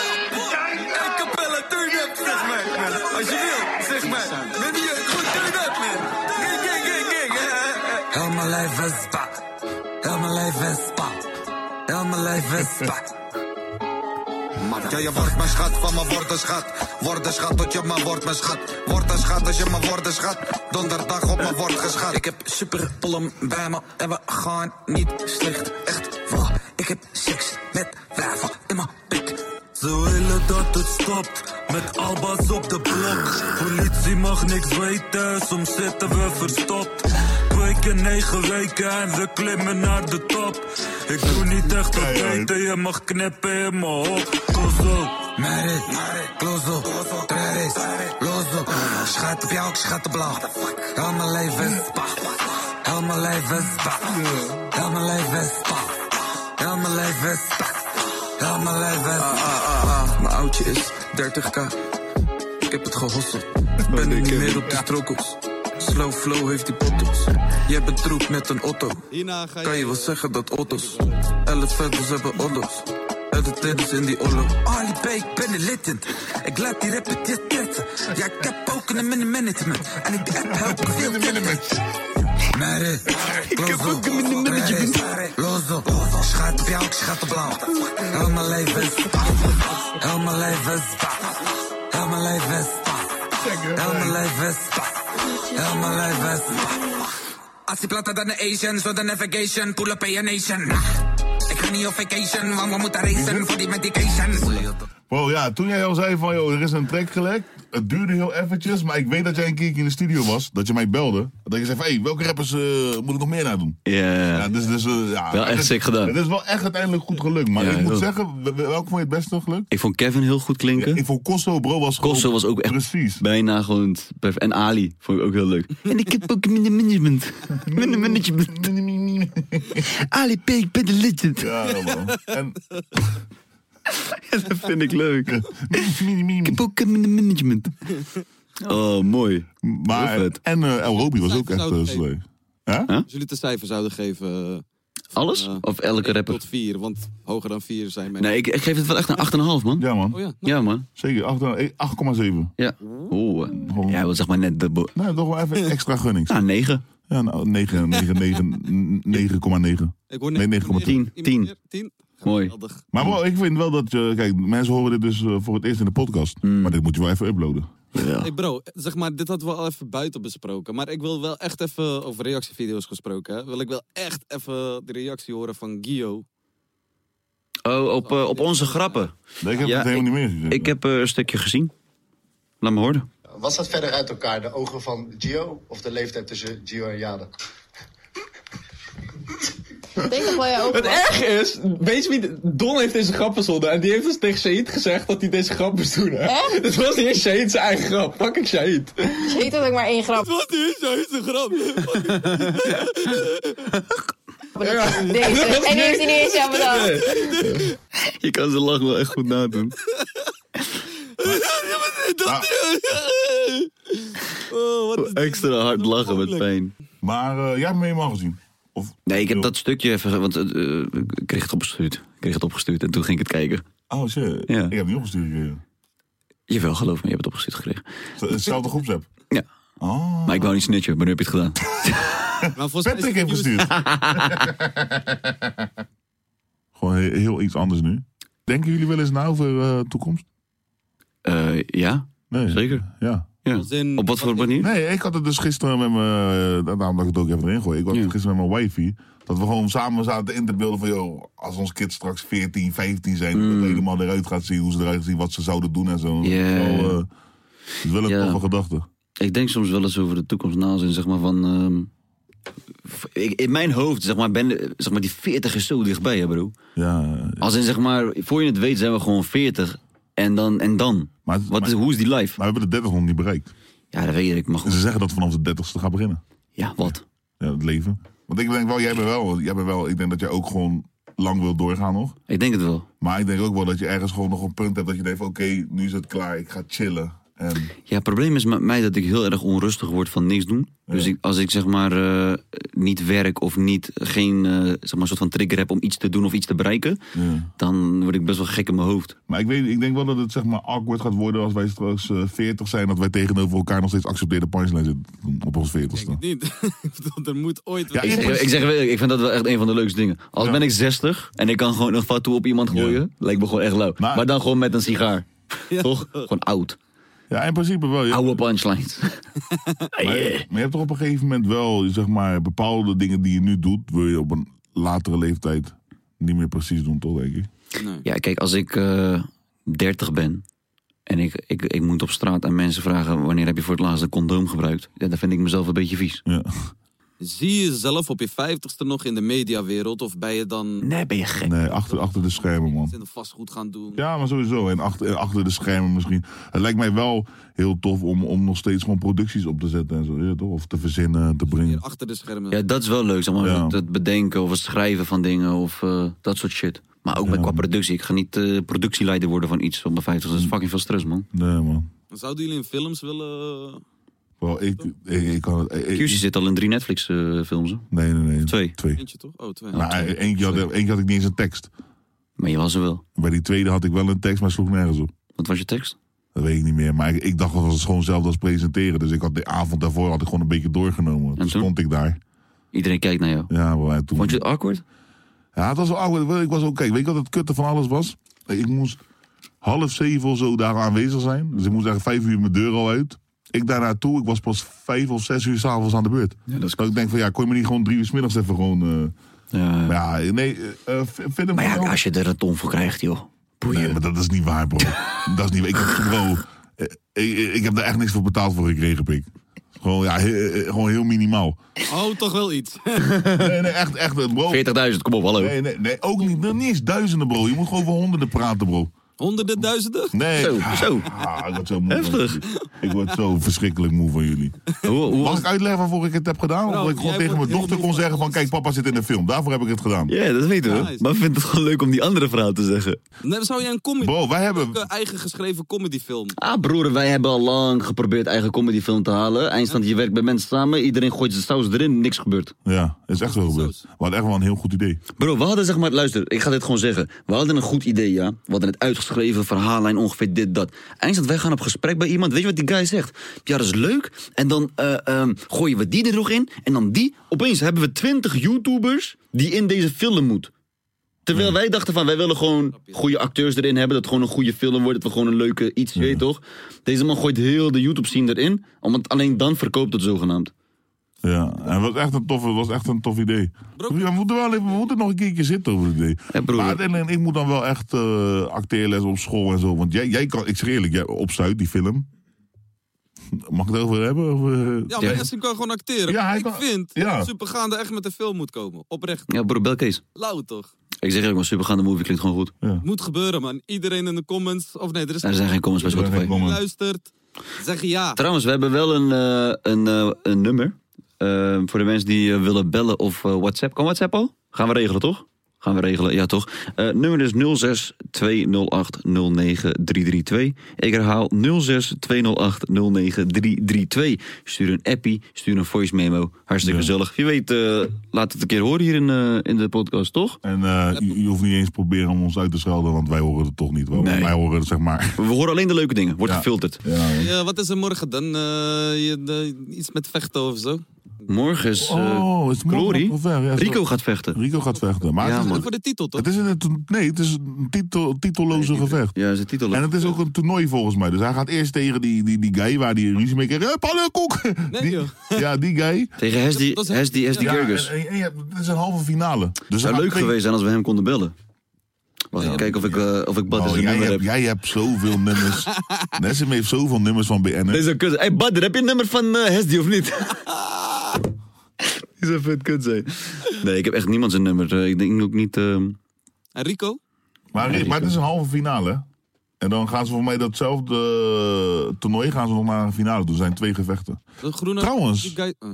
O: Hey, Capella maar, turn up, zeg maar, man. Als je wil, zeg maar. Ben je goed, turn up, man. Gang, gang, gang, gang.
P: Heel mijn lijf is spa. Heel mijn lijf is spa. Heel mijn lijf is spa.
Q: Ja, je wordt mijn schat, van mijn worden schat. Worden schat tot je maar wordt mijn schat. Worden schat als je maar worden schat. Donderdag op mijn wordt geschat. Ik heb super polm bij me en we gaan niet slecht. Echt waar, ik heb seks met wijven in mijn
P: Ze willen dat het stopt, met albas op de blok. Politie mag niks weten, soms zitten we verstopt. Twee keer negen weken en we klimmen naar de top. Ik doe niet echt wat eten, je mag knippen in mijn hop. Kozo, merit, klozo, treris, lozo. Schat op jou, ik schat op blauw. Heel mijn leven is spa. Heel mijn leven is spa. Heel mijn leven is spa. Heel mijn leven is spa. Heel mijn leven is spa.
Q: Ah, Mijn oudje is 30k. Ik heb het gehosseld. Ben nu niet meer op de strokkels. Slow flow heeft die bottles. Jij bent troep met een otto. Kan je wel zeggen dat otto's. Elf vettels hebben ollos. En de tendens in die ollo.
P: Ali B, ik ben een littend. Ik laat die rapper dit testen. Ja, ik heb ook een mini management. En ik de app helpt me veel management. Merit, ik heb ook een mini management. Lozo, schat op jou, ik schat op blauw. Heel mijn leven is pap. Heel mijn leven is pap. Heel mijn leven is pap. Heel mijn leven is pap. Heel mijn leven is pap.
Q: Als die platter dan de Asian, zo de navigation, pull up a nation. Ik ga niet op vacation, want we moeten racen voor die medication.
H: Bro, ja, toen jij al zei van, joh, er is een track gelekt. Het duurde heel eventjes, maar ik weet dat jij een keer in de studio was. Dat je mij belde. Dat je zei van, hé, hey, welke rappers eh, moet ik nog meer naar doen?
A: Ja.
H: Ja, dus, dus, eh, ja,
A: Wel echt
H: het is-
A: sick gedaan.
H: Het is wel echt uiteindelijk goed gelukt. Maar
A: Ja,
H: ik moet
A: heel-
H: zeggen, wel- welke vond je het beste gelukt?
A: Ik vond Kevin heel goed klinken.
H: ik vond Kosso, bro, was
A: Kosso was ook echt precies. bijna gewoon... t- perf- En Ali vond ik ook heel leuk. [laughs] En ik heb ook minder management. Minder management. Ali P, ik ben de legend.
H: [laughs] Ja, man. En...
A: [laughs] dat vind ik leuk. ik heb ook minder management. [laughs] Oh, mooi.
H: Maar,
A: Heel vet.
H: en eh El Robi was ook echt
B: Zouden
H: uh,
B: geven.
H: slay. Hè?
B: Als jullie de cijfer zouden geven. eh,
A: Alles? of elke rapper?
B: Tot vier, want hoger dan vier zijn mensen.
A: Nee, ik, ik geef het wel echt een 8,5 man.
H: Ja man.
B: ja.
A: man.
H: Zeker, eh, 8,7.
A: Ja. Oeh. eh, Ja, wel zeg maar net de... bo-
H: Nee, Nou, toch wel
A: [laughs]
H: even extra gunnings.
A: Nou, 9.
H: Ja, nou, 9, 9, 9, 9,9.
B: Ik hoor
H: Nee, 9,10.
A: 10. Mooi.
H: Maar
A: Hmm.
H: bro, ik vind wel dat, je, kijk, mensen horen dit dus eh, voor het eerst in de podcast.
A: Hmm.
H: Maar dit moet je wel even uploaden.
B: Hey bro, zeg maar, dit hadden we al even buiten besproken. Maar ik wil wel echt even, over reactievideo's gesproken, hè, wil ik wel echt even de reactie horen van Guillaume.
A: Oh, op, eh, op onze grappen.
H: Nee, ik
B: heb het
H: helemaal niet meer gezien.
A: Ik heb eh, een stukje gezien. Laat me horen.
R: Was dat verder uit elkaar, de ogen van Gio of de leeftijd tussen Gio en Jade?
S: Denk dat wel jij ook
T: Het
S: was.
T: erg is, weet je wie, Don heeft deze grap verzonnen en die heeft dus tegen Shahid gezegd dat hij deze grap moest doen. Hè?
S: Echt?
T: Het was niet eens Shahid zijn eigen grap, fucking Shahid.
S: Je weet dat ik maar één grap.
B: Wat is deze grap?
S: Deze. En die heeft hij niet eens aan bedacht.
A: Je kan zijn lach wel echt goed nadoen. [laughs] Oh, Extra hard lachen met pijn.
H: Maar eh, jij hebt hem helemaal gezien. Of,
A: Nee, ik heb dat stukje even... ge- Want eh, eh, ik kreeg het opgestuurd. Ik kreeg het opgestuurd en toen ging ik het kijken.
H: oh shit,
A: Ja.
H: ik heb niet opgestuurd. gekregen.
A: Jawel, geloof me, je hebt het opgestuurd gekregen.
H: Het- Hetzelfde groepsapp. Ah.
A: Ja. Maar ik wou niet snitchen, maar nu heb je het gedaan.
B: [laughs] Maar volgens
H: Patrick heeft gestuurd. [laughs] Gewoon he- heel iets anders nu. Denken jullie wel eens na over eh, toekomst?
A: Eh, ja, zeker.
H: Ja.
A: Op wat voor manier?
H: Nee, ik had het dus gisteren met mijn... eh, Daarom dat ik het ook even erin gooi. Ik had het gisteren met mijn wifey. Dat we gewoon samen zaten in te beelden van... joh, als ons kids straks 14, 15 zijn... dat het helemaal eruit gaat zien hoe ze eruit zien... wat ze zouden doen en zo. Dat is
A: Mm. Ja.
H: wel, eh, dat is wel een
A: Ja.
H: toffe gedachte.
A: Ik denk soms wel eens over de toekomst na als in, zeg maar, van... ehm, v- ik, in mijn hoofd, zeg maar, ben, zeg maar, die 40 is zo dichtbij, hè, bro.
H: Ja, eh,
A: Als in, zeg maar, voor je het weet zijn we gewoon 40. En dan? En dan? Wat is, hoe is die life?
H: Maar Dus- we hebben de 30 nog niet bereikt.
A: Ja, dat weet ik. Maar
H: Ze zeggen dat vanaf de 30ste gaat beginnen.
A: Ja, wat?
H: Ja, het leven. Want ik denk wel, jij bent wel... Jij bent wel ik denk dat jij ook gewoon lang wil doorgaan nog.
A: Ik denk het wel.
H: Maar ik denk ook wel dat je ergens gewoon nog een punt hebt... dat je denkt van, oké, nu is het klaar. Ik ga chillen.
A: Ja, het probleem is met mij dat ik heel erg onrustig word van niks doen. Dus ik, als ik zeg maar eh, niet werk of niet, geen eh, zeg maar, soort van trigger heb om iets te doen of iets te bereiken, dan word ik best wel gek in mijn hoofd.
H: Maar ik, weet, ik denk wel dat het zeg maar awkward gaat worden als wij straks eh, 40 zijn. Dat wij tegenover elkaar nog steeds accepteren punchline zitten op ons
B: [laughs]
H: 40ste.
B: Niet. Ik bedoel, er moet ooit
A: ik, ik, ik zeg, wel, ik vind dat wel echt een van de leukste dingen. Als ben ik 60 en ik kan gewoon een fatu op iemand gooien, lijkt me gewoon echt lauw. Maar, dan gewoon met een sigaar. Toch? Gewoon oud.
H: Ja, in principe wel.
A: Oude punchlines.
H: Maar, maar je hebt toch op een gegeven moment wel, zeg maar, bepaalde dingen die je nu doet, wil je op een latere leeftijd niet meer precies doen, toch, denk ik?
A: Ja, kijk, als ik eh 30 ben en ik, ik, ik moet op straat aan mensen vragen wanneer heb je voor het laatst een condoom gebruikt, ja, dan vind ik mezelf een beetje vies.
B: Zie je jezelf op je vijftigste nog in de mediawereld? Of ben je dan
A: Nee, ben je gek.
H: Nee, achter, achter de schermen, man.
B: vastgoed gaan doen?
H: Ja, maar sowieso. En achter, en achter de schermen misschien. Het lijkt mij wel heel tof om, om nog steeds gewoon producties op te zetten en zo, ja, toch? Of te verzinnen, te brengen.
B: Achter de schermen.
A: Ja, dat is wel leuk, zeg maar, het, het bedenken of het schrijven van dingen of eh, dat soort shit. Maar ook met qua productie. Ik ga niet eh, productieleider worden van iets op mijn 50. Dat is
H: Hm.
A: fucking veel stress, man.
H: Nee, man.
B: Zouden jullie in films willen... eh,
H: Wel, ik, ik, ik kan het... ik- ik-
A: QC zit al in drie eh, Netflix-films.
H: nee, nee, nee.
A: Twee.
H: Twee.
B: Eentje toch? Oh, twee.
H: Nou, eh, eentje, had, eentje had ik niet eens een tekst.
A: Maar je was er wel.
H: Bij die tweede had ik wel een tekst, maar sloeg nergens op.
A: Wat was je tekst?
H: Dat weet ik niet meer. Maar ik, ik dacht dat was het gewoon zelf als presenteren. Dus ik had de avond daarvoor had ik gewoon een beetje doorgenomen. Toen, stond ik daar.
A: Iedereen kijkt naar jou.
H: Ja, maar wij toen... Vond
A: je het awkward?
H: Ja, het was wel awkward. Wel, Ik was ook... Kijk, weet je wat het kutte van alles was? Ik moest half zeven of zo daar aanwezig zijn. Dus ik moest eigenlijk vijf uur mijn deur al uit. Ik daar naartoe, ik was pas vijf of zes uur s'avonds aan de beurt. dat ik denk van ja, kon je me niet gewoon drie uur 's middags even gewoon... eh, Maar ja, nee, eh, eh, v- verder... Maar ja,
A: als je er een ton voor krijgt, joh.
H: Nee, maar dat is niet [laughs] waar, bro. dat is niet waar. Ik heb, bro, eh, ik, ik heb daar echt niks voor betaald voor gekregen, pik. Gewoon, ja, he- eh, gewoon heel [laughs] minimaal.
B: Oh, toch wel iets. [laughs]
H: Nee, nee, echt, echt, bro.
A: 40.000, kom op, hallo.
H: Nee, nee, nee, ook niet, niet eens duizenden, bro. Je moet gewoon over honderden praten, bro.
B: Honderden, duizenden?
H: Nee.
B: Zo, zo.
H: Ah, ik word zo moe van
B: Heftig. Oh,
H: jullie. Ik word zo verschrikkelijk moe van jullie. Mag ik uitleggen waarvoor ik het heb gedaan? Of
B: Nou,
H: dat ik gewoon
B: jij
H: tegen
B: wordt
H: mijn dochter kon zeggen van... Kijk, papa zit in de film. Daarvoor heb ik het gedaan.
A: Ja, dat weten we. Maar ik vind het gewoon leuk om die andere verhaal te zeggen.
B: Nee, zou jij een comedy...
H: Bro, wij hebben...
B: Een eigen geschreven comedyfilm.
A: Ah, broer, wij hebben al lang geprobeerd eigen comedyfilm te halen. Eindstand, je werkt bij mensen samen, iedereen gooit zijn saus erin, niks gebeurt.
H: Ja, is echt zo gebeurd. We hadden echt wel een heel goed idee.
A: Bro, we hadden zeg maar, luister, ik ga dit gewoon zeggen. We hadden een goed idee, ja. We hadden het uitgeschreven, verhaallijn, ongeveer dit, dat. Eindstand, wij gaan op gesprek bij iemand. Weet je wat die guy zegt? Ja, dat is leuk. En dan eh, ehm, gooien we die er nog in. En dan die. Opeens hebben we twintig YouTubers die in deze film moeten. Terwijl wij dachten van, wij willen gewoon goede acteurs erin hebben. Dat het gewoon een goede film wordt. Dat we gewoon een leuke iets, je weet toch? Deze man gooit heel de YouTube-scene erin. Omdat alleen dan verkoopt het zogenaamd.
H: Ja, en het was echt een tof, het was echt een tof idee. We moeten wel even, we moeten nog een keertje zitten over het idee. maar alleen, ik moet dan wel echt eh, acteerles op school en zo. Want jij, jij kan, ik zeg eerlijk, jij opstuit die film. Mag ik het over hebben? Of, eh?
B: Ja, maar Essin kan gewoon acteren.
H: Ja, hij
B: ik
H: kan-
B: vind
H: ja.
B: dat Supergaande echt met een film moet komen. Oprecht.
A: Ja, broer, bel Kees.
B: Lauw toch?
A: Ik zeg ook maar supergaande movie klinkt gewoon goed.
B: Moet gebeuren, man. Iedereen in de comments. Of nee, er, is
A: Er zijn geen comments bij Spotify.
B: Iedereen die luistert. Zeg ja.
A: Trouwens, we hebben wel een, eh, een, eh, een nummer. eh, voor de mensen die eh, willen bellen of eh, WhatsApp. Kan WhatsApp al? Gaan we regelen, toch? Gaan we regelen, ja toch. Eh, nummer is 06-208-09-332. Ik herhaal 06-208-09-332. Stuur een appie, stuur een voice memo. Hartstikke gezellig. Wie weet, eh, laat het een keer horen hier in, eh, in de podcast, toch?
H: En eh, je, je hoeft niet eens proberen om ons uit te schelden, want wij horen het toch niet. Wij, wij horen het, zeg
A: [laughs]
H: maar.
A: We horen alleen de leuke dingen. Wordt
H: Ja.
A: gefilterd.
B: Ja, wat is er morgen dan? Eh, je, de- iets met vechten of zo?
A: Morgen is, eh,
H: Oh, is het morgen
A: Glory?
H: nog wel ver? Ja,
A: Rico
H: zo-
A: gaat vechten.
H: Rico gaat vechten. Maar
A: Ja,
H: het is,
A: man.
B: Voor de titel toch?
H: het is een, nee, het is een titel, titelloze gevecht.
A: Ja, zijn titel.
H: En het is ook een toernooi volgens mij. Dus hij gaat eerst tegen die, die, die guy waar die ruzie mee kreeg. Eh, pannenkoek! [laughs] Die- ja, die guy.
A: Tegen Hesdi, Hesdi, Hesdi
H: Ja, eh,
A: Gergus.
H: en- en- en ja, Het is een halve finale.
A: Dus
H: Dus
A: zou
H: hij
A: leuk
H: gaat
A: geweest zijn als we hem konden bellen. Wacht, even kijken of ik, eh, of ik Badr
H: Oh,
A: zijn
H: jij,
A: nummer
H: hebt,
A: heb.
H: jij hebt zoveel
A: [laughs]
H: nummers. Nessim heeft zoveel nummers van BN'ers.
A: Deze kut. Hey Badr, heb je een nummer van eh, Hesdi of niet? [laughs] Die zou vet kut zijn. Nee, ik heb echt niemand zijn nummer. Eh, ik denk ook niet... ehm,
B: En Rico?
H: Maar, maar het is een halve finale. En dan gaan ze voor mij datzelfde eh, toernooi gaan ze nog naar een finale toe. Er zijn twee gevechten.
B: De groene...
H: Trouwens.
B: die guy- eh.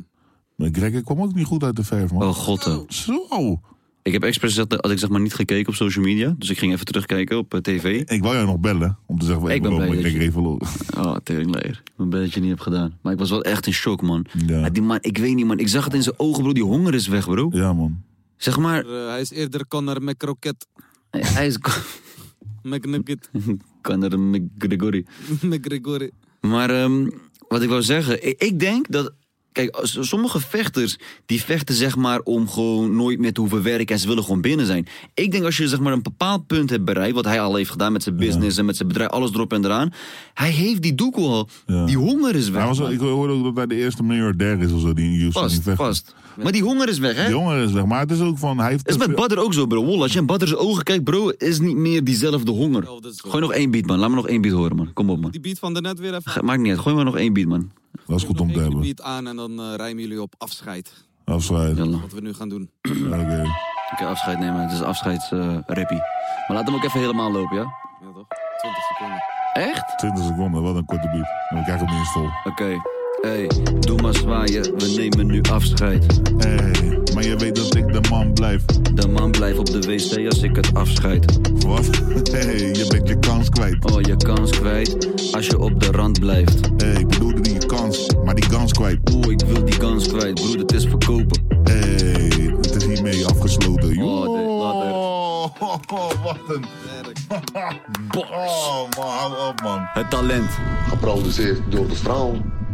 H: Maar Gregor kwam ook niet goed uit de verf, man.
A: Oh, god.
H: Zo.
A: oh, eh. Ik heb expres gezegd dat had ik zeg maar niet gekeken op social media. Dus ik ging even terugkijken op eh, tv.
H: Ik wou jou nog bellen om te zeggen,
A: Ik
H: ik,
A: ben
H: ben
A: blij
H: ik
A: dat
H: kreeg even
A: [laughs]
H: los.
A: Oh, teringleer. Ik ben blij dat je het niet hebt gedaan. Maar ik was wel echt in shock, man. Maar die man, ik weet niet, man. Ik zag het in zijn ogen, bro. Die honger is weg, bro.
H: Ja, man.
A: Zeg maar,
B: Eh, hij is eerder Connor McCroket.
A: hij is... [laughs]
B: McNugget. [laughs]
A: Conor McGregory.
B: McGregory.
A: Maar ehm, wat ik wou zeggen, ik, ik denk dat. Kijk, als- sommige vechters die vechten zeg maar om gewoon nooit meer te hoeven werken en ze willen gewoon binnen zijn. Ik denk als je zeg maar een bepaald punt hebt bereikt, wat hij al heeft gedaan met zijn business en met zijn bedrijf, alles erop en eraan. Hij heeft die doekel al. Die honger is weg.
H: Hij was,
A: man.
H: ik hoorde ook dat hij de eerste miljardair is of zo die in Houston
A: Vast,
H: niet vecht.
A: vast. Maar die honger is weg, hè?
H: Die honger is weg, maar het is ook van... Hij heeft
A: Dat is met Badr ook zo, bro. Wol, als je in Badr's ogen kijkt, bro, is niet meer diezelfde honger. Gooi nog één beat, man. Laat me nog één beat horen, man. Kom op, man.
B: Die beat van daarnet weer even.
A: Ge- Maakt niet uit. Gooi maar nog één beat, man.
H: Dat is goed om te
B: Die
H: hebben.
B: beat aan en dan eh, rijmen jullie op afscheid.
H: Afscheid.
B: Wat we nu gaan doen.
H: Oké.
A: Ik kan afscheid nemen. Het is afscheidsrappie. maar laat hem ook even helemaal lopen, ja?
B: Ja toch? 20 seconden.
A: Echt?
H: 20 seconden, wat een korte beat. We krijgen hem niet eens vol.
A: Oké. Hey, doe maar zwaaien. We nemen nu afscheid.
H: Hey, maar je weet dat ik de man blijf.
A: De man blijft op de wc als ik het afscheid.
H: Wat? [laughs] Hey, je bent je kans kwijt.
A: Oh, je kans kwijt als je op de rand blijft.
H: Hey, ik bedoelde je kans, maar die kans kwijt.
A: Oeh, ik wil die kans kwijt. Broer, het is verkopen.
H: Hey, het is hiermee afgesloten. Joe.
A: Oh, de- later.
H: Oh, oh, oh, [laughs] wat een... Oh man, hou op man.
A: Het talent.
R: Geproduceerd door de straal.